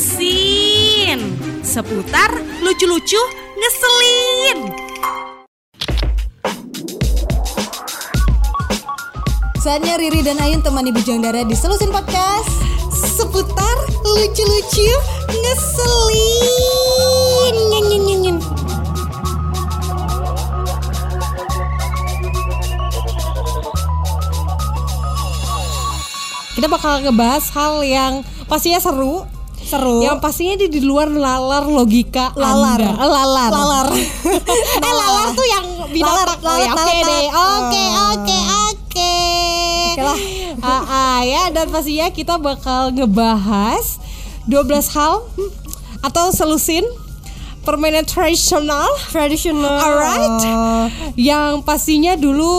Selusin Seputar lucu-lucu ngeselin Saatnya Riri dan Ayun temani Bujang Dara di Selusin Podcast Seputar lucu-lucu ngeselin Nyen, nyen, nyen, nyen. Kita bakal ngebahas hal yang pastinya Oh. seru seru Yang pastinya di, di luar lalar logika Lalar. Ya, Anda. Eh, Lalar lalar Nah. Eh lalar tuh yang Lalat, binatang lalat, Oh, ya, Oke lalat. deh Oke Ah. oke oke Oke lah. Ah, ah, ya dan pastinya kita bakal ngebahas 12 hal hmm, Atau selusin Permainan tradisional tradisional Alright Yang pastinya dulu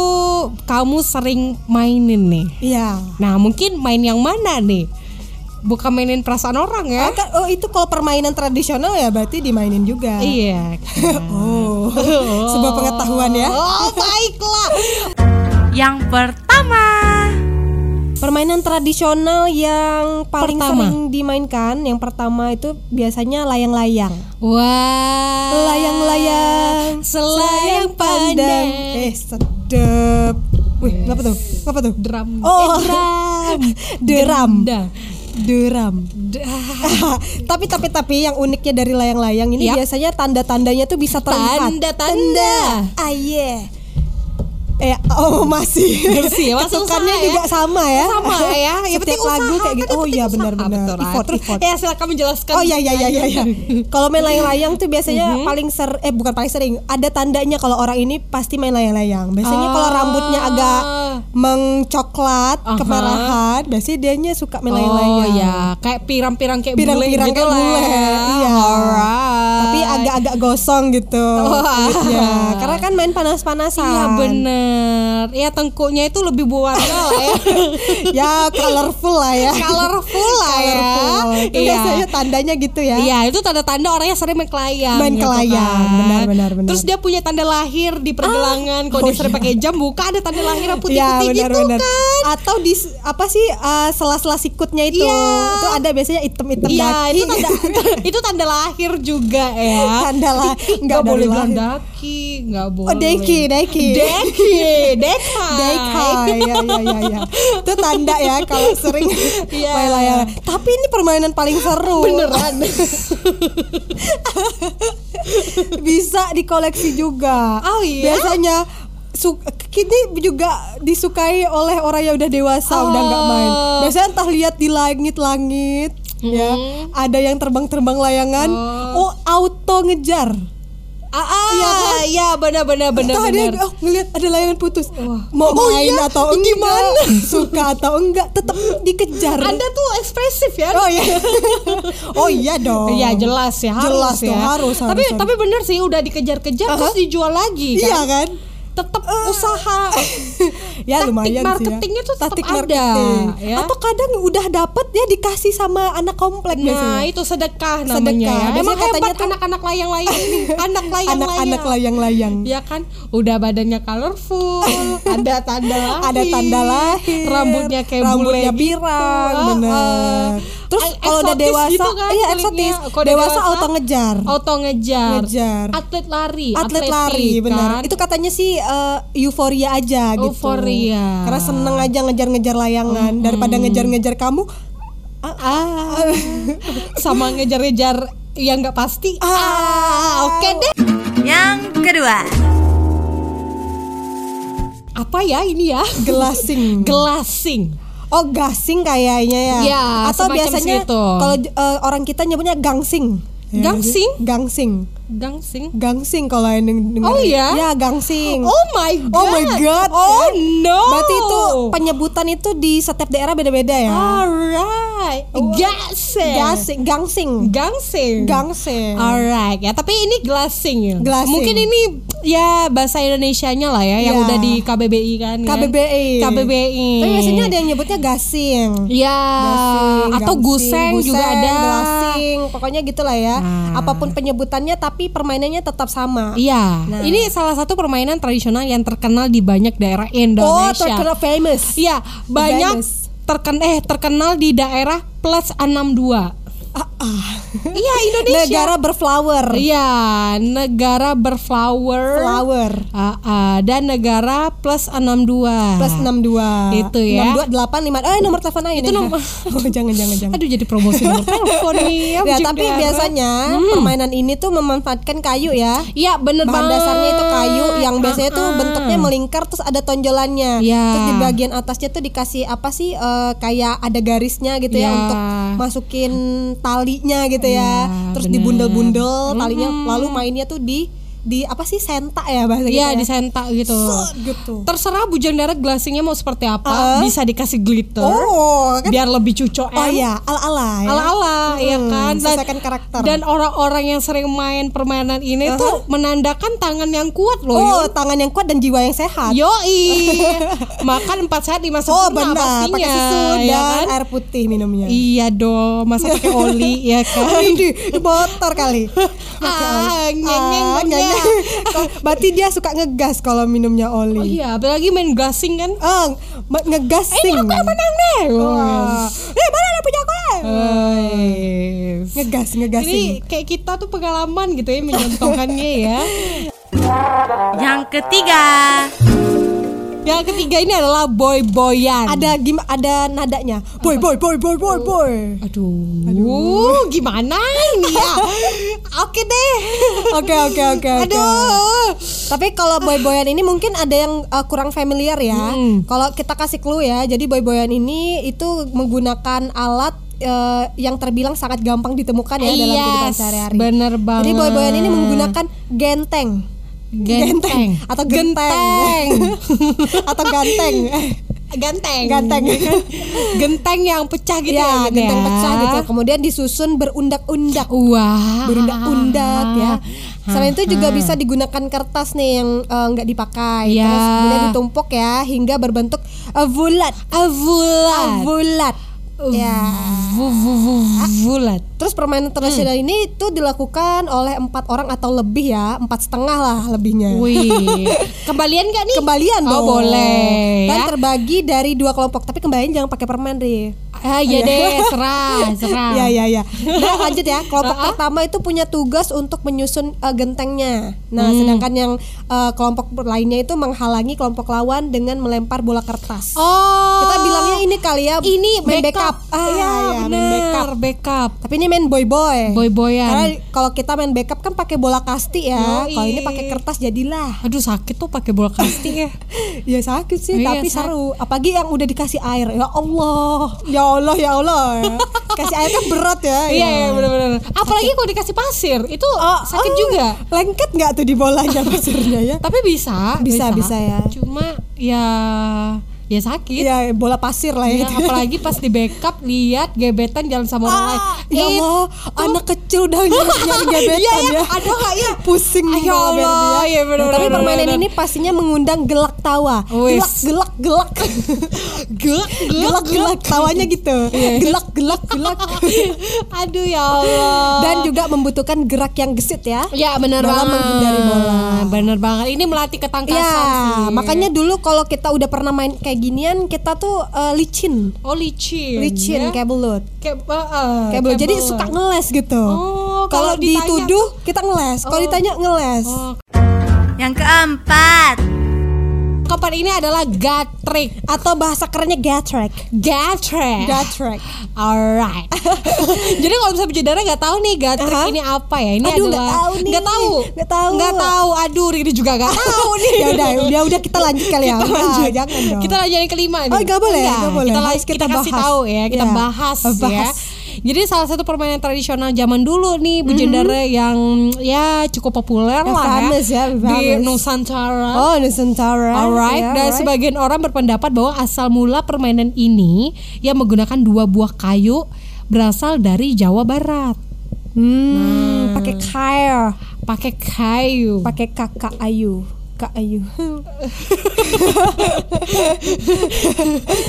kamu sering mainin nih iya Nah mungkin main yang mana nih? Bukan mainin perasaan orang ya Ah, kan- oh itu kalau permainan tradisional ya berarti dimainin juga Iya oh sebuah pengetahuan ya Oh baiklah Yang pertama permainan tradisional yang paling Pertama. sering dimainkan yang pertama itu biasanya layang-layang Wah layang-layang pandang Selayang pandang eh sedep wih apa tuh apa tuh Drum oh Eh, drum deram Dah. deram tapi tapi tapi yang uniknya dari layang-layang ini Yap. biasanya tanda-tandanya tuh bisa terlihat. Ya. Tanda-tanda. Ah yeah. Eh oh masih. Bersih ya, masih Ketukannya usaha ya. juga sama ya. Sama ya Yang Setiap penting lagu kayak gitu. usaha, kan yang Oh iya penting usaha. benar-benar. Betul, Ra. Effort, Terus, effort. Ya silakan menjelaskan Oh iya iya iya iya. iya. kalau main layang-layang tuh biasanya Mm-hmm. paling ser eh bukan paling sering ada tandanya kalau orang ini pasti main layang-layang. Biasanya kalau Ah. rambutnya agak mengcoklat Aha. kemerahan, biasanya dianya suka main layang-layang. Oh ya Kayak pirang-pirang kayak bule iya. Pirang-pirang gitu kayak lah bule, ya. iya. Alright tapi agak-agak gosong gitu kulitnya. karena kan main panas-panasan Oh, ah. Iya bener Ya tengkuknya itu lebih berwarna lah ya ya colorful lah ya Colorful lah ya Colorful. itu biasanya tandanya gitu ya Iya itu tanda-tanda orangnya sering main kelayang Main gitu kelayang, benar, benar, benar. Terus dia punya tanda lahir di pergelangan Kalau oh dia sering iya. pakai jam buka ada tanda lahirnya Iya, putih-putih gitu benar-benar. kan atau di apa sih eh, sela-sela sikutnya itu Iya. itu ada biasanya item-item Iya daki itu tanda itu tanda lahir juga ya tanda lah Nggak nggak boleh dari bilang lahir. daki Nggak boleh Oh deki, deki, Deki Dekai Dekai, ya, ya, ya, ya. Itu tanda ya kalau sering Iya. main layang. Tapi ini permainan paling seru. Beneran. Bisa dikoleksi juga. Oh, iya? Biasanya su kini juga disukai oleh orang yang udah dewasa, udah nggak main. Oh. Hmm. Biasanya entah lihat di langit-langit, ya. Ada yang terbang-terbang layangan. Oh, auto ngejar. Ah, ah, iya benar benar benar Entah kan? dia benar. oh, ngelihat ada layangan putus. Wah. Mau Oh, main iya? atau enggak? Gimana? Suka atau enggak tetap dikejar. Anda tuh ekspresif ya. Oh iya. oh iya dong. Iya jelas ya harus Jelas ya. dong, harus, harus, tapi harus. tapi benar sih udah dikejar-kejar terus dijual lagi kan. Iya kan? Tetap usaha. Ya Taktik lumayan marketingnya sih ya. tuh tetap Taktik ada, marketing. ya. Atau kadang udah dapet ya dikasih sama anak komplek Nah biasanya. itu sedekah namanya. Sedekah. Ya. Emang Biasanya katanya hebat tuh- anak-anak layang-layang, ini. anak layang-layang. Anak-anak layang-layang. Ya kan, udah badannya colorful, ada tanda lahir, Ada tanda lahir. rambutnya kayak Rambutnya bule pirang, gitu. bener. Heeh. Terus Ay- kalau udah eksotis dewasa, gitu kan iya kulitnya. eksotis. Kalau udah Dewasa auto ngejar. auto ngejar, Ngejar. atlet lari, atlet atletik, lari benar kan. itu katanya sih eh, euforia aja gitu Euforia. karena seneng aja ngejar-ngejar layangan daripada ngejar-ngejar kamu ah, ah, sama ngejar-ngejar yang nggak pasti. ah, oke deh Yang kedua Apa ya ini ya? gelasing Gelasing. oh gasing kayaknya ya, Ya, atau semacam biasanya segitu. kalau eh, orang kita nyebutnya gangsing Ya, Gangsing? jadi gangsing Gangsing. gangsing kalau yang deng- dengerin. Oh, iya? ya gangsing Oh my god. Oh my God. Oh no. berarti itu penyebutan itu di setiap daerah beda-beda ya Alright. Gasing. gasing gangsing Gangsing. gangsing Alright ya, tapi ini glassing ya. Glassing. Mungkin ini ya bahasa Indonesianya lah ya, yang Ya. udah di KBBI kan. kan? KBBI. KBBI. E. Tapi biasanya ada yang nyebutnya gasing. Ya, Gasing, atau gangsing, guseng, juga guseng, ada. Gasing, pokoknya gitulah ya. Nah. Apapun penyebutannya tapi permainannya tetap sama. Iya, Nah. ini salah satu permainan tradisional yang terkenal di banyak daerah Indonesia. Oh, terkenal Oh, famous. Iya, banyak Famous. terken eh terkenal di daerah plus 62. iya Indonesia. Negara berflower. Iya, negara berflower. Flower. Ah, ah, dan negara plus 62. Plus 62. Itu Ah, ya. 6285. Eh nomor telepon aja. Itu nomor- Oh, jangan jangan jangan. Aduh jadi promosi nomor telepon nih. Ya, Abjud tapi darah. biasanya Hmm. permainan ini tuh memanfaatkan kayu ya. Iya bener Bahan banget. dasarnya itu kayu yang biasanya tuh Ah-ah. bentuknya melingkar terus ada tonjolannya. Ah, Iya. Terus di bagian atasnya tuh dikasih apa sih eh, kayak ada garisnya gitu Iya. ya untuk masukin talinya gitu ya. Iya, terus bener. dibundel-bundel talinya lalu mainnya tuh di di apa sih sentak ya bahasa Iya gitu ya. di sentak gitu. Set, gitu. Terserah bujang darah glassingnya mau seperti Ah. apa, bisa dikasih glitter Oh, kan biar lebih cucok. Oh ya, ala-ala ya. ala-ala ya Hmm, kan sesuaikan karakter. dan orang-orang yang sering main permainan ini Aha. tuh menandakan tangan yang kuat loh iya. Oh, tangan yang kuat dan jiwa yang sehat. yo yoi makan empat sehat oh, lima sempurna benar. pastinya Pakai susu dan ya kan? air putih minumnya. iya dong masa pakai oli ya kan Di motor kali. ah nyeng-nyeng Ah, dong nyanyi. ya. Kok- Berarti dia suka ngegas kalau minumnya Oh oli. iya apalagi main gasing kan Oh, ma- ngegasing. aku yang menang deh Wah. Eh, mana ada punya aku? eh? Wes. Ngegas, ngegasing. ini kayak kita tuh pengalaman gitu ya menyentuhkannya ya Yang ketiga, yang ketiga ini adalah boy-boyan Ada gim ada nadanya. Boy, boy, boy, boy, boy, boy. Aduh, gimana ini ya? Oke deh. Oke, oke, oke. oke. Aduh. Tapi kalau boy-boyan ini mungkin ada yang uh, kurang familiar ya. Hmm. Kalau kita kasih clue ya, jadi boy-boyan ini itu menggunakan alat uh, yang terbilang sangat gampang ditemukan ya dalam Yes, kehidupan sehari-hari. bener banget. Jadi boy-boyan ini menggunakan genteng. Genteng. atau genteng. atau ganteng. Ganteng. Ganteng. Genteng yang pecah gitu ya, ya. Yun genteng ya? pecah gitu. Kemudian disusun berundak-undak. Wah. berundak-undak ya. hmm, Selain itu juga bisa digunakan kertas nih yang eh, nggak dipakai, Ya. terus kemudian ditumpuk ya hingga berbentuk eh, bulat, Avulat. Uh. bulat. Ya. Vuvulat. Terus permainan tradisional Hmm. ini itu dilakukan oleh empat orang atau lebih ya, empat setengah lah lebihnya. Wih. Kembalian gak nih? Kembalian Oh, dong. boleh, Dan ya. terbagi dari dua kelompok, tapi kembalian jangan pakai permen deh. Ah, iya deh, serah, serah. Ya ya ya. Nah lanjut ya. Kelompok Uh-uh. pertama itu punya tugas untuk menyusun eh, gentengnya. Nah Hmm. sedangkan yang eh, kelompok lainnya itu menghalangi kelompok lawan dengan melempar bola kertas. Oh. Kita bilangnya ini kali ya. ini main backup. backup. Ah, iya, ya, main benar. backup. backup. Eh. Tapi ini main boy boy. Boy-boyan. Karena kalau kita main backup kan pakai bola kasti ya. Yoi. Kalau ini pakai kertas jadilah. Aduh sakit tuh pakai bola kasting ya. Ya sakit sih, Iya, tapi sakit. seru. Apalagi yang udah dikasih air. Ya Allah. Ya Allah, ya Allah. Kasih air kan berat ya. Iya, Ya. iya benar-benar. Apalagi kalau dikasih pasir, itu sakit Oh, juga. Lengket nggak tuh di bolanya pasirnya ya? Tapi bisa, Bisa, bisa ya. Cuma ya ya sakit. Iya bola pasir lah ya. Ya, apalagi pas di backup lihat gebetan jalan sama orang lain. Eh, Ah, ya It- Allah, anak kecil udah nyari nyari gebetan Iya, iya. ya. Aduh, Kak, iya. pusing Ah, nih ya kalau Allah, biar dia. iya, bener, Tapi bener, permainan bener. ini pastinya mengundang gelak tawa. Wis. Gelak, gelak, gelak. Gelak, gelak, Iya. gelak, gelak tawanya gitu. Gelak, gelak, gelak. Aduh ya Allah. Dan juga membutuhkan gerak yang gesit ya. ya benar Dalam banget. menghindari bola. Benar banget. Ini melatih ketangkasan Ya, Iya, sih. makanya dulu kalau kita udah pernah main kayak ginian, kita tuh eh, licin. oh licin. Licin ya. kayak belut. kayak uh, Kayak belum. Jadi suka ngeles gitu. Oh, kalau kalau ditanya- dituduh kita ngeles. Kalau Oh. ditanya ngeles. Oh, yang keempat, Keempat ini adalah gatrek. Atau bahasa kerennya gatrek. Gatrek. Gatrek. Alright. Jadi kalau misalnya bejadara nggak tahu nih gatrek Aha. ini apa ya? Ini Aduh, adalah nggak tahu nih. Nggak tahu. Nggak tahu. Nggak tahu. Aduh, Riri juga nggak tahu nih. ya udah, ya udah kita lanjut kali ya. Udah, jangan dong. Kita lanjut yang kelima nih. Oh, nggak boleh, Nggak. nggak boleh. Kita, la- Harus kita, kita kasih bahas. tahu ya, kita Iya. bahas, ya. Bahas. Mhm. Jadi salah satu permainan tradisional zaman dulu nih bejadara yang ya cukup populer Yang lah famous ya, di famous. Nusantara. Oh, Nusantara. Alright, Ya, dan alright. sebagian orang berpendapat bahwa asal mula permainan ini yang menggunakan dua buah kayu berasal dari Jawa Barat. hmm, pakai kair, Pakai kayu. pakai kakak ayu. Kak Ayu.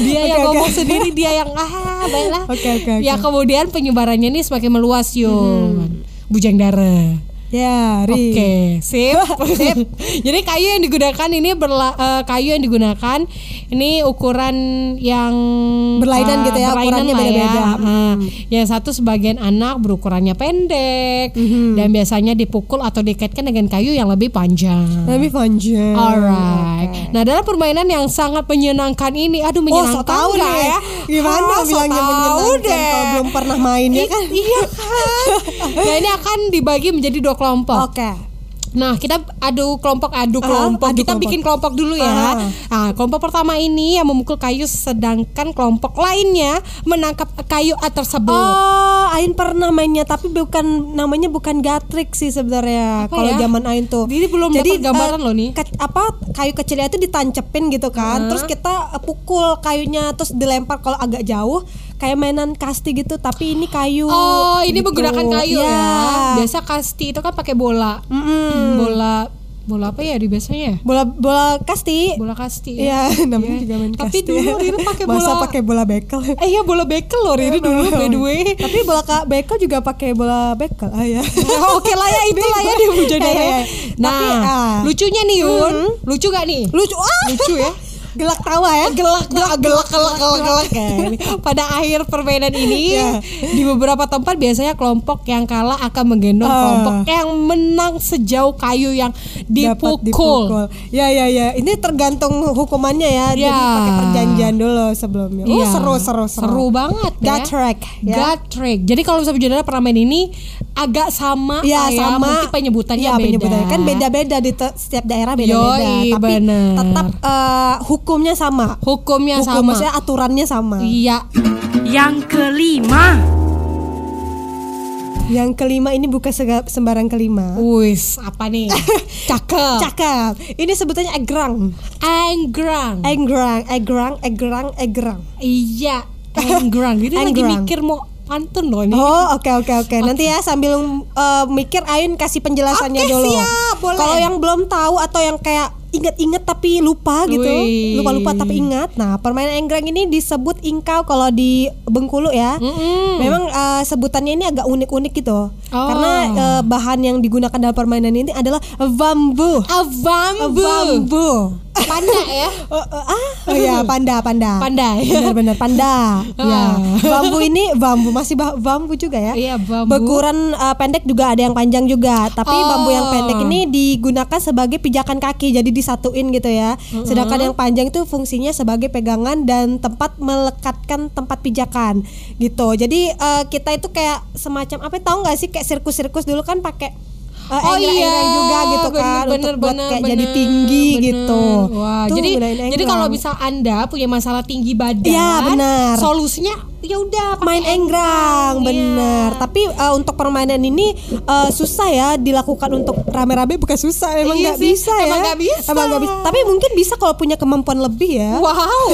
Dia Oke, yang oke. ngomong sendiri, dia yang ah, baiklah. Oke, oke, oke. Ya kemudian penyebarannya ini semakin meluas, Yun. Bujang dara. Ya, Ri. Oke, sip. Sip. Jadi kayu yang digunakan ini berla, eh, kayu yang digunakan ini ukuran yang Berlainan eh, gitu ya, berlainan ukurannya lah ya. beda-beda. Mm-hmm. Ah, Yang satu sebagian anak berukurannya pendek Mm-hmm. dan biasanya dipukul atau dikaitkan dengan kayu yang lebih panjang. Lebih panjang. Alright. Nah, dalam permainan yang sangat menyenangkan ini, aduh Oh, so menyenangkan tau nggak deh. ya? Gimana Ah, so bilangnya tau menyenangkan deh. kalau belum pernah main ya I- kan? Iya kan. nah, ini akan dibagi menjadi dua kelompok. Oke. Nah, kita adu kelompok, adu Ah, kelompok. adu kita kelompok. bikin kelompok dulu ya. Ah. Nah, kelompok pertama ini yang memukul kayu sedangkan kelompok lainnya menangkap kayu ah, tersebut. Oh, Ain pernah mainnya tapi bukan namanya bukan gatrik sih sebenarnya. Apa Kalau ya? zaman Ain tuh. Jadi belum dapat gambaran eh, loh nih. ke- apa kayu kecilnya itu ditancepin gitu kan. Terus kita eh, pukul kayunya terus dilempar kalau agak jauh kayak mainan kasti gitu tapi ini kayu. Oh, ini gitu. menggunakan kayu Iya. ya. Biasa kasti itu kan pakai bola. Hmm, Hmm. Bola bola apa ya di biasanya? ya? Bola bola kasti. Bola kasti. ya? Iya, namanya juga main kasti. Tapi dulu Riri pakai bola. Masa pakai bola bekel. Eh iya bola bekel loh ya Riri dulu by the way. tapi bola ka- bekel juga pakai bola bekel. Ah ya. Oh, Oke lah ya itulah ya dia Iya, iya, iya. Nah, Tapi, ah. lucunya nih Yun, hmm. lucu gak nih? Lucu. Ah! Lucu ya. Gelak tawa ya. gelak gelak gelak gelak gelak gelak kan. Pada akhir permainan ini Ya. di beberapa tempat biasanya kelompok yang kalah akan menggendong Ah. kelompok yang menang sejauh kayu yang dipukul. Dapat Ya ya ya. Ini tergantung hukumannya ya. Jadi Ya. pakai perjanjian dulu sebelumnya. Oh, Iya. seru seru seru. banget ya. Gatrek, ya. Gatrek. Jadi kalau misalnya Jendela pernah main ini agak sama Ya, lah sama. mungkin penyebutannya Iya, beda. penyebutannya. kan beda-beda di te- setiap daerah beda-beda, Yoi, tapi bener. tetap eh, hukumnya sama. Hukumnya Hukum sama. maksudnya aturannya sama. Iya. Yang kelima Yang kelima ini bukan sega- sembarang kelima. Wis, apa nih? Cakep. Cakep. Ini sebutannya egrang. Anggrang. Egrang, egrang, egrang, egrang. Iya, Anggrang. Jadi lagi Anggrang. mikir mau pantun loh ini. Oh, oke oke oke. Nanti ya sambil eh, mikir Ain kasih penjelasannya Oke, dulu. siap, boleh. Kalau yang belum tahu atau yang kayak inget-inget tapi lupa gitu, Wih. lupa-lupa tapi ingat. Nah, permainan enggrang ini disebut ingkau kalau di Bengkulu ya. Mm-mm. Memang eh, sebutannya ini agak unik-unik gitu. Oh. Karena eh, bahan yang digunakan dalam permainan ini adalah bambu. Avambu. Panda ya. Oh, oh, ah, oh ya panda, panda. iya, Panda. Benar-benar panda. ya. ya. Ah. Bambu ini bambu masih ba- bambu juga ya. Iya, bambu. Berukuran eh, pendek juga ada yang panjang juga, tapi Oh. bambu yang pendek ini digunakan sebagai pijakan kaki, jadi disatuin gitu ya. Sedangkan yang panjang itu fungsinya sebagai pegangan dan tempat melekatkan tempat pijakan gitu. Jadi eh, kita itu kayak semacam apa tahu nggak sih kayak sirkus-sirkus dulu kan pakai eh, Oh enggrang-enggrang iya, juga gitu kan bener, untuk buat bener, kayak bener, jadi tinggi bener. gitu. Wah, Tuh jadi gunain jadi enggrang. kalau misal anda punya masalah tinggi badan, Iya, benar. Solusinya ya udah pakai main Iya. enggrang bener tapi eh, untuk permainan ini eh, susah ya dilakukan untuk rame-rame bukan susah emang nggak Iya sih, bisa ya emang nggak bisa. Emang nggak bisa. tapi mungkin bisa kalau punya kemampuan lebih ya Wow,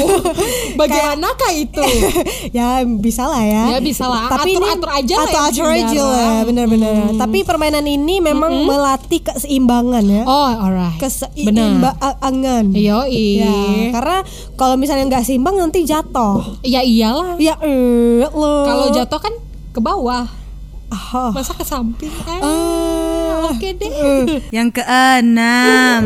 bagaimanakah itu? ya bisa lah ya Ya, bisa lah. Atur-atur aja atur lah ya, Hmm. atur aja Bunda. lah bener-bener tapi permainan ini memang melatih keseimbangan ya Oh, alright. Benar. Iya, keseimbangan Yoi. ya karena kalau misalnya nggak seimbang nanti jatuh Ya iyalah. ya eh lo Kalau jatuh kan ke bawah, Ah. masa ke samping. Ah, Ah. Oke deh. Yang keenam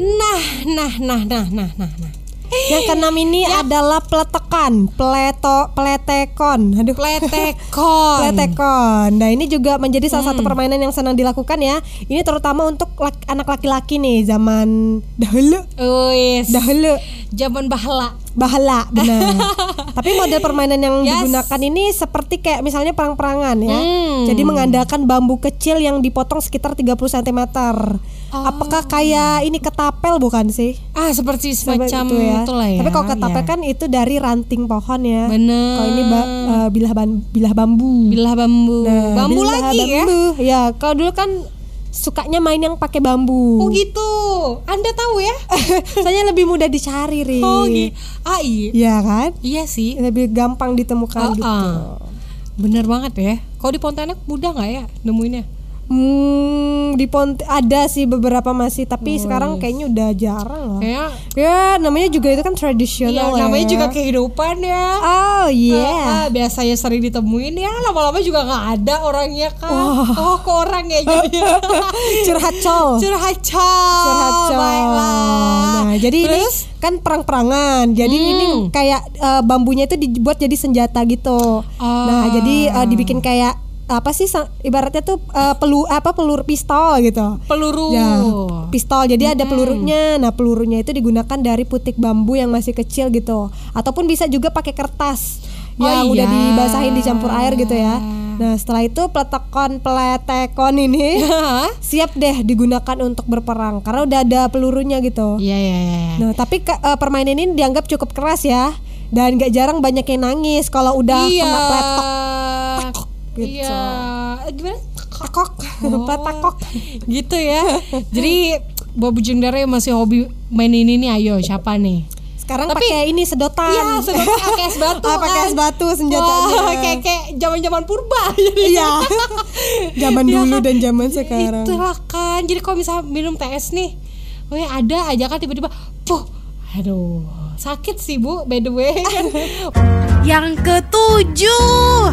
Nah, nah, nah, nah, nah, nah, nah. Yang keenam ini Iya. adalah peletekan, pleto, pletekon. Aduh. Pletekon. Pletekon. Nah ini juga menjadi salah satu Hmm. permainan yang senang dilakukan ya. Ini terutama untuk lak- anak laki-laki nih zaman dahulu, Wis. dahulu, Zaman bahala. bahala benar. Tapi model permainan yang Yes. digunakan ini seperti kayak misalnya perang-perangan ya. Hmm. Jadi mengandalkan bambu kecil yang dipotong sekitar 30 cm. Oh. Apakah kayak ini ketapel bukan sih? Ah, seperti Coba semacam itu ya. itulah ya. Tapi kalau ketapel Ya. kan itu dari ranting pohon ya. Bener. Kalau ini ba- eh, bilah ban- bilah bambu. bilah bambu. Nah, bambu bilah lagi ya. bambu. ya. Kalau dulu kan sukanya main yang pakai bambu. Oh gitu. Anda tahu ya? Soalnya lebih mudah dicari, Ri. oh gitu. Ah, iya. Iya kan? Iya sih. Lebih gampang ditemukan Ah, gitu. ah. Bener banget ya. Kalau di Pontianak mudah nggak ya nemuinnya? Hmm, di Pont ada sih beberapa masih, tapi sekarang kayaknya udah jarang lah. Kayaknya Ya, namanya juga itu kan iya, tradisional. lah namanya ya. juga kehidupan ya. Oh Ah, ah, yeah. biasanya sering ditemuin ya lama-lama juga nggak ada orangnya kan. Oh, ke orang ya jadinya. Curhat col. Curhat col. Oh. Curhat col. Oh, Baiklah. Nah, jadi Terus? Hmm. ini kan perang-perangan. Jadi ini kayak eh, bambunya itu dibuat jadi senjata gitu. Nah, Ah. jadi eh, dibikin kayak apa sih sa- ibaratnya tuh eh, pelu apa peluru pistol gitu. peluru. Hmm. Ya, pistol. Jadi ada pelurunya. Nah, pelurunya itu digunakan dari putik bambu yang masih kecil gitu. Ataupun bisa juga pakai kertas Oh, yang udah iya. dibasahin dicampur air gitu ya. Nah, setelah itu peletekon peletekon ini siap deh digunakan untuk berperang karena udah ada pelurunya gitu. Iya iya iya. Nah, tapi ke- eh, permainan ini dianggap cukup keras ya. Dan gak jarang banyak yang nangis kalau udah Iya. kena peletok. gitu. Iya. Eh, Gimana? Oh. Tekok, peletekok. gitu ya jadi Bob Jundara yang masih hobi main ini nih ayo siapa nih Sekarang Tapi- pakai ini sedotan. Iya, sedotan pakai es batu Ah, pakai kan. es batu senjatanya. Wah, kayak kayak zaman zaman purba jadi Iya. zaman Iya dulu kan? dan zaman sekarang. itulah kan jadi kalau misalnya minum TS nih weh ada aja kan tiba-tiba puh aduh sakit sih bu by the way kan Yang ketujuh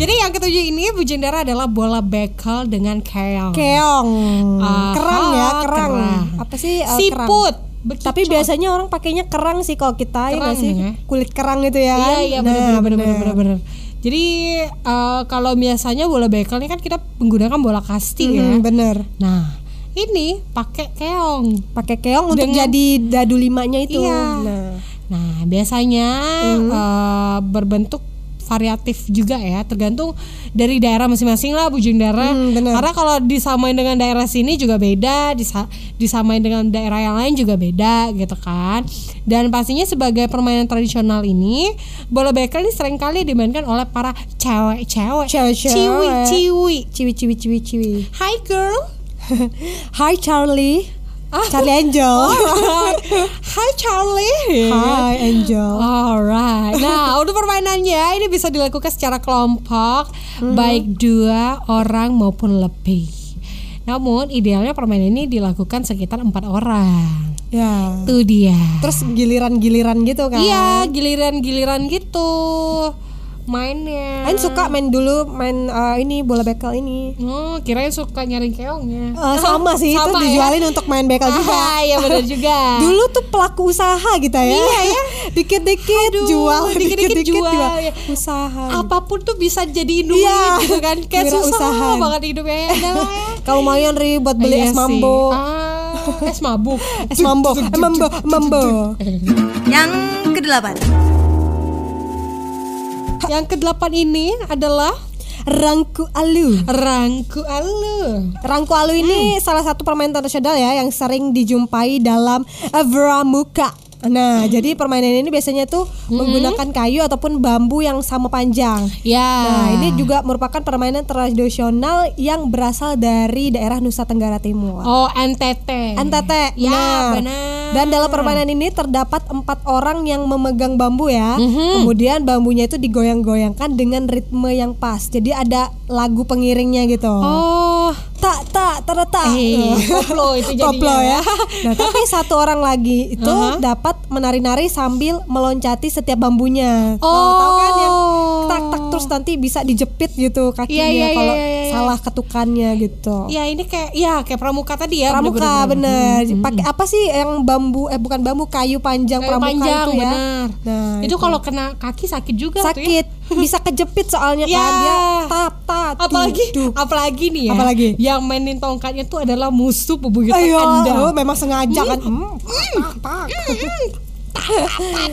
jadi yang ketujuh ini Bu Jendara adalah bola bekel dengan keong Keong. Aha, kerang ya, kerang. kerang. Apa sih? eh, kerang? siput Tapi Bekicot. biasanya orang pakainya kerang sih kalau kita ya Kerang nggak sih? ya. Kulit kerang itu ya kan. Iya iya benar benar benar benar benar, benar. Jadi eh, kalau biasanya bola bekel ini kan kita menggunakan bola kasti ya. Hmm, bener. Nah, ini pakai keong. Pakai keong untuk Dengan- jadi dadu limanya itu. Iya. Nah, Nah, biasanya Mhm. eh, berbentuk variatif juga ya, tergantung dari daerah masing-masing lah Bu Jundara. Hmm, benar. Karena kalau disamain dengan daerah sini juga beda, disa- disamain dengan daerah yang lain juga beda gitu kan. Dan pastinya sebagai permainan tradisional ini, bola bekel ini seringkali dimainkan oleh para cewek-cewek. Cewek-cewek. Ciwi-ciwi. ciwi ciwi ciwi ciwi. Hi girl. Hi Charlie. Ah. Charlie Angel. Oh. Oh. Hi Charlie. Hi Angel. Alright. Nah, untuk permainannya ini bisa dilakukan secara kelompok, Hmm. baik dua orang maupun lebih. Namun idealnya permainan ini dilakukan sekitar empat orang. Ya. Itu dia. Terus giliran-giliran gitu kan. Iya, giliran-giliran gitu mainnya. Ain suka main dulu main eh, ini bola bekel ini. Oh, kirain suka nyari keongnya. Eh, sama sih itu Ah, Sama ya? dijualin untuk main bekel juga. Ah, iya benar juga. Dulu tuh pelaku usaha kita ya. Iya, ya. Dikit-dikit Aduh, jual, dikit-dikit dikit-dikit jual, jual. ya. Usaha. apapun tuh bisa jadi duit Iya, gitu kan. Kayak susah kewirausahaan. banget hidupnya. Ya, udah lah ya. Kalau lumayan ribet beli Iya es sih. mambo. Ah, es mabuk. Es mambo, eh, mambo, mambo. Yang kedelapan Yang kedelapan ini adalah Rangku alu. rangku alu. Rangku alu ini Hmm. salah satu permainan tradisional ya yang sering dijumpai dalam Vramuka. Hmm. Nah, jadi permainan ini biasanya tuh menggunakan kayu ataupun bambu yang sama panjang. Ya. Nah, ini juga merupakan permainan tradisional yang berasal dari daerah Nusa Tenggara Timur. Oh NTT. NTT, Ya, benar. benar. Dan dalam permainan ini terdapat empat orang yang memegang bambu ya. Mhm. Kemudian bambunya itu digoyang-goyangkan dengan ritme yang pas. Jadi ada lagu pengiringnya gitu. Oh. Tak tak tara tak. Nah, Eh, koplo itu jadinya. Koplo ya. Nah, tapi satu orang lagi itu dapat menari-nari sambil meloncati setiap bambunya. Tahu- Tahu kan yang Oh. tak tak terus nanti bisa dijepit gitu kakinya Iya, iya, kalau iya, iya, iya. salah ketukannya gitu. Ya ini kayak ya kayak pramuka tadi ya. Pramuka bener-bener. bener. Pakai apa sih yang bambu eh bukan bambu kayu panjang hmm, Kayu pramuka panjang itu ya. benar. Nah, itu kalau kena kaki sakit juga tuh ya. sakit bisa kejepit soalnya Ya. kan dia tap tap Apalagi tiduk. apalagi nih ya. Apalagi? yang mainin tongkatnya tuh adalah musuh bebuyutan Ayo, Anda. aduh, Gitu kan, memang sengaja kan. Hmm, tak, tak. Hmm.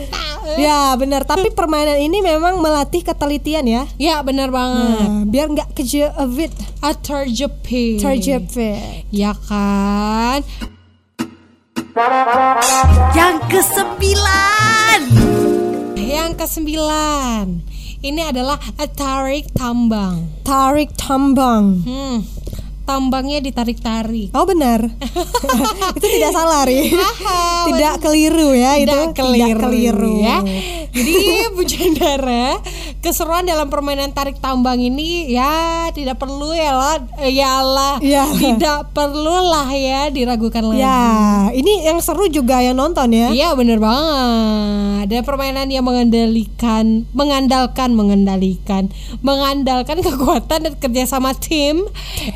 Ya benar, tapi permainan ini memang melatih ketelitian ya. Ya benar banget. Nah, biar nggak kejepit, A terjepit. terjepit. Ya kan? Yang kesembilan Yang kesembilan. Ini adalah a tarik tambang. Tarik tambang. Hmm. tambangnya ditarik-tarik. Oh benar. itu tidak salah, Ri. tidak keliru ya itu. Tidak tidak keliru, keliru. ya. Jadi Bu Chandra, keseruan dalam permainan tarik tambang ini ya tidak perlu ya lah, ya lah, Ya. tidak perlulah ya diragukan lagi. Ya, ini yang seru juga yang nonton ya. Hmm. Iya bener banget Ada permainan yang mengendalikan Mengandalkan Mengendalikan Mengandalkan kekuatan dan kerjasama tim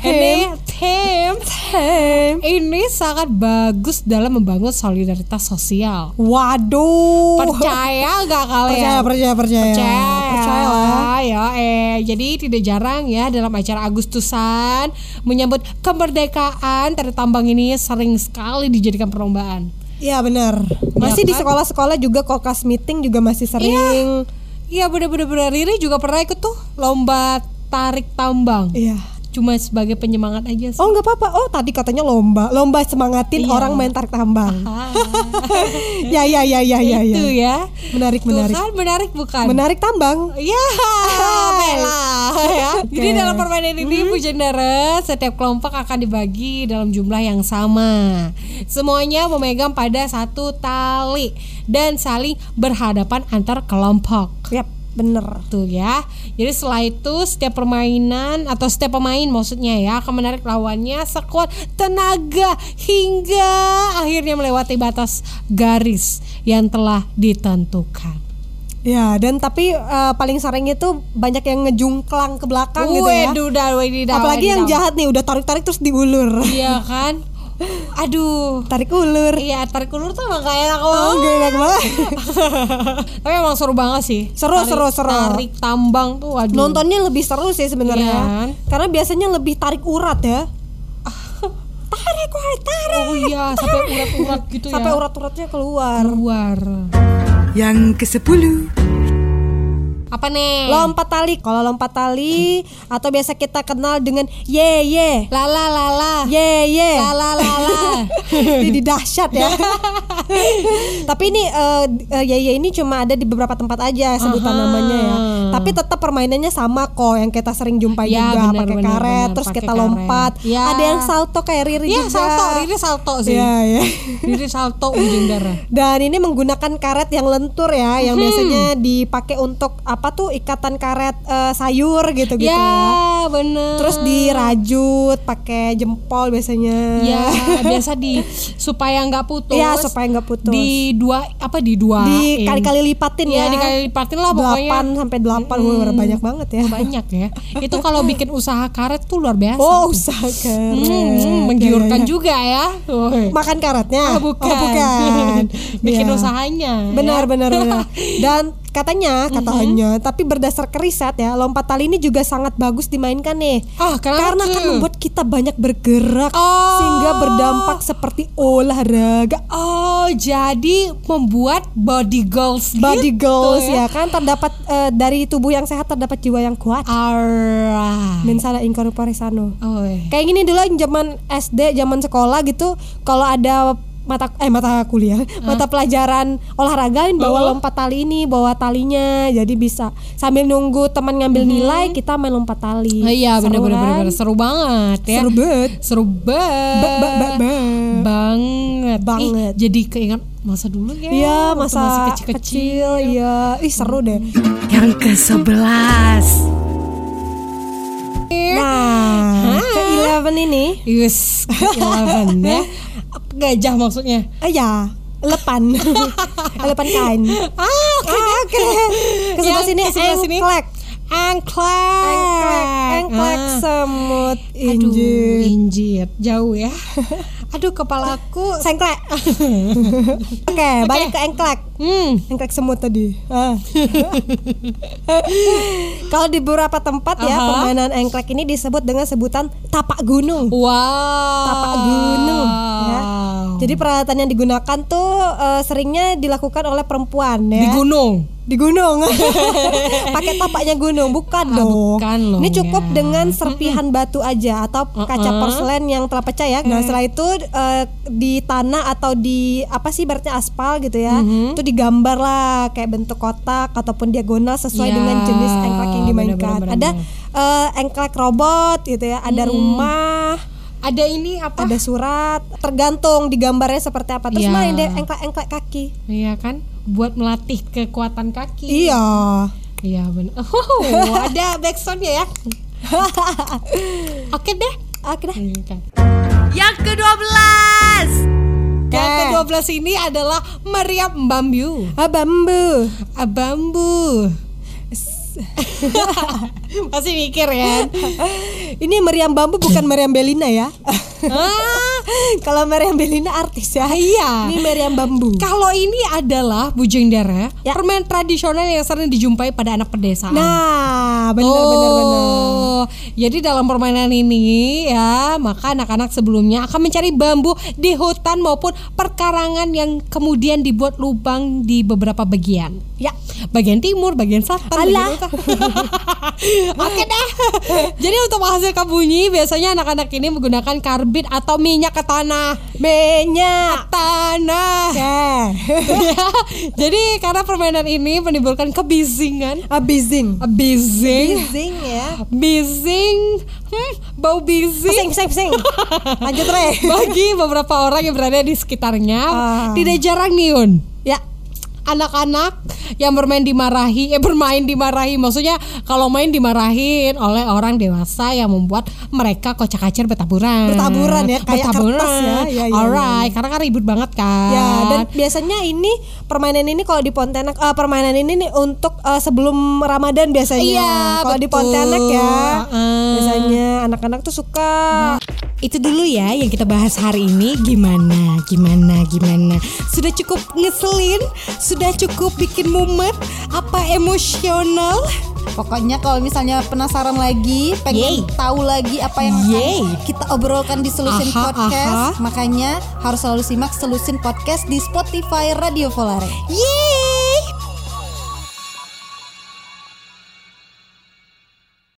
Ini tim Ini sangat bagus dalam membangun solidaritas sosial Waduh. Percaya gak percaya, kalian? percaya, percaya. Percaya, Percaya lah. ya eh jadi tidak jarang ya dalam acara Agustusan menyambut kemerdekaan tari tambang ini sering sekali dijadikan perlombaan. Iya benar. Iya Masih di kan? sekolah-sekolah juga kokas meeting juga masih sering. Iya bener-bener bener. Riri juga pernah ikut tuh lomba tarik tambang Iya. Cuma sebagai penyemangat aja sih Oh nggak apa-apa. Oh tadi katanya lomba, lomba semangatin Iya. orang main tarik tambang. Ah, ya ya ya ya ya. Itu ya. ya Menarik Tuh menarik. kan menarik bukan? Menarik tambang. Iya, Bella. Ya. Jadi dalam permainan ini Mm-hmm. Bu Jendera, setiap kelompok akan dibagi dalam jumlah yang sama. Semuanya memegang pada satu tali dan saling berhadapan antar kelompok. Yap, Iya, bener. Tuh ya. Jadi setelah itu setiap permainan atau setiap pemain maksudnya ya akan menarik lawannya sekuat tenaga hingga akhirnya melewati batas garis yang telah ditentukan. Ya, dan tapi eh, paling sering itu banyak yang ngejungklang ke belakang gitu ya. Waduh, dah, wadidaw, Apalagi yang wadidaw. jahat nih udah tarik-tarik terus diulur. Iya kan? Aduh. Tarik ulur. Iya, tarik ulur tuh emang kayak aku. Oh, gak enak banget. Tapi emang seru banget sih. Seru, Tarik- seru, seru. Tarik tambang tuh aduh. Hmm. Nontonnya lebih seru sih Iya sebenarnya. kan? Karena biasanya lebih tarik urat ya. tarik urat, tarik. Oh iya, sampai urat-urat gitu ya. Hmm. Sampai urat-uratnya keluar. keluar. Yang ke sepuluh Apa nih? Lompat tali. Kalau lompat tali Hmm. atau biasa kita kenal dengan ye ye. Lala lala. Ye ye. Lala lala. Jadi dahsyat ya. Tapi ini eh, eh, ye ye ini cuma ada di beberapa tempat aja sebutan Aha. namanya ya. Tapi tetap permainannya sama kok yang kita sering jumpai Ya, juga benar, pakai benar, karet benar, terus pakai kita karet. lompat. Ya. Ada yang salto kayak Riri Iya, juga. salto. Riri salto sih. Iya, ya. Riri salto ujung darah. Dan ini menggunakan karet yang lentur ya, yang biasanya dipakai untuk apa tuh ikatan karet eh, sayur gitu-gitu ya. ya, bener. Terus dirajut pakai jempol biasanya. Ya, biasa di supaya nggak putus. Iya, supaya nggak putus. Di dua apa di dua? Dikali-kali lipatin ya. Iya, dikali lipatin lah pokoknya. 8 sampai 8 Wah, banyak banget ya. banyak ya. Itu kalau bikin usaha karet tuh luar biasa. Oh, tuh. usaha Hmm, karet. hmm, Ya, menggiurkan ya, ya. juga ya. Woi. Makan karetnya. Ah, bukan. Oh, bukan. bikin Ya. usahanya. Benar, ya. Mm-hmm. benar, benar. Dan katanya, katanya, tapi berdasarkan riset ya, lompat tali ini juga sangat bagus dimainkan nih. Ah, kenapa Karena tuh? kan membuat kita banyak bergerak Oh. sehingga berdampak seperti olahraga. Oh, jadi membuat body goals Body gitu goals ya. ya kan terdapat eh, dari tubuh yang sehat terdapat jiwa yang kuat. Alright. Mensana incorpore sano. Oi. Kayak gini dulu zaman SD, zaman sekolah gitu, kalau ada mata eh mata kuliah, mata pelajaran olahraga ini bawa Oh. lompat tali ini, bawa talinya. Jadi bisa sambil nunggu teman ngambil nilai, kita main lompat tali. Mhm. Oh, iya Seru benar-benar kan? benar-benar. seru banget ya. Seru banget. Seru banget. Ba- ba- ba- ba. banget. Ih, Banget. jadi keinget masa dulu ya. Iya, waktu masa masih kecil, kecil-kecil. iya. Ih, seru deh. Yang ke sebelas Nah, ke 11 ini, Yus, eleven ya. Gajah maksudnya. eh ya, lepan. lepan kain. Ah, oke. Oke. Ke sebelah Yang sini, ke sebelah sini. engklek. Engklek. Engklek, engklek Ah. semut Aduh, injit. injit. Jauh ya. Aduh, kepala aku. Sengklek. Oke, balik ke engklek. Hmm. Engklek semut tadi. Ah. Kalau di beberapa tempat ya Aha. permainan engklek ini disebut dengan sebutan tapak gunung. Wow. Tapak gunung, ya. Jadi peralatan yang digunakan tuh eh, seringnya dilakukan oleh perempuan ya. di gunung. di gunung pakai tapaknya gunung bukan Ah, dong bukan loh, ini cukup ya. dengan serpihan batu aja atau kaca Mm-mm. porselen yang telah pecah ya nah setelah itu eh, di tanah atau di apa sih ibaratnya aspal gitu ya itu digambar lah kayak bentuk kotak ataupun diagonal sesuai Ya, dengan jenis engklek yang dimainkan bener-bener, Mm. ada eh, engklek robot gitu ya ada rumah Ada ini apa? ada surat tergantung di gambarnya seperti apa terus Ah. Iya. main deh engklek-engklek kaki Iya kan? Buat melatih kekuatan kaki. iya Iya benar. Oh, ada backsoundnya ya. Oke deh. oke dah Yang ke-12 Yang ke-12 ini adalah Maria Mbambiu. Ah, bambu Ah, Bambu. Masih mikir ya. ini meriam bambu bukan meriam belina ya Ah, kalau meriam belina artis ya iya. ini meriam bambu Kalau ini adalah Bujeng Dara, Ya. permen tradisional yang sering dijumpai pada anak pedesaan. nah benar benar benar Oh, Jadi dalam permainan ini ya, maka anak-anak sebelumnya akan mencari bambu di hutan maupun perkarangan yang kemudian dibuat lubang di beberapa bagian. ya Bagian timur, bagian selatan, Alah. bagian utara. Oke deh. Jadi untuk menghasilkan bunyi, biasanya anak-anak ini menggunakan karbit atau minyak ke tanah. minyak Tanah. ya Ya. Jadi karena permainan ini menimbulkan kebisingan, abizing bising, Bising ya. bising, hmm, bau bising. Pusing, pusing, pusing. Lanjut, Re. Bagi beberapa orang yang berada di sekitarnya, Ah. tidak jarang niun. ya. Anak-anak yang bermain dimarahi, eh bermain dimarahi, maksudnya kalau main dimarahin oleh orang dewasa yang membuat mereka kocak-kacir bertaburan. Bertaburan ya, kayak bertaburan. kertas ya. Ya, ya, Alright, karena kan ribut banget kan. Ya, dan biasanya ini permainan ini kalau di Pontianak eh, permainan ini nih untuk eh, sebelum Ramadan biasanya. Iya, kalau di betul. Ah. Pontianak ya. Heeh. Biasanya anak-anak tuh suka Itu dulu ya yang kita bahas hari ini Gimana, gimana, gimana Sudah cukup ngeselin Sudah cukup bikin mumet Apa emosional Pokoknya kalau misalnya penasaran lagi, pengen Yeay. tahu lagi apa yang akan Yeay. kita obrolkan di Solusin Aha, Podcast, aha. makanya harus selalu simak Solusin Podcast di Spotify Radio Volare. Yeay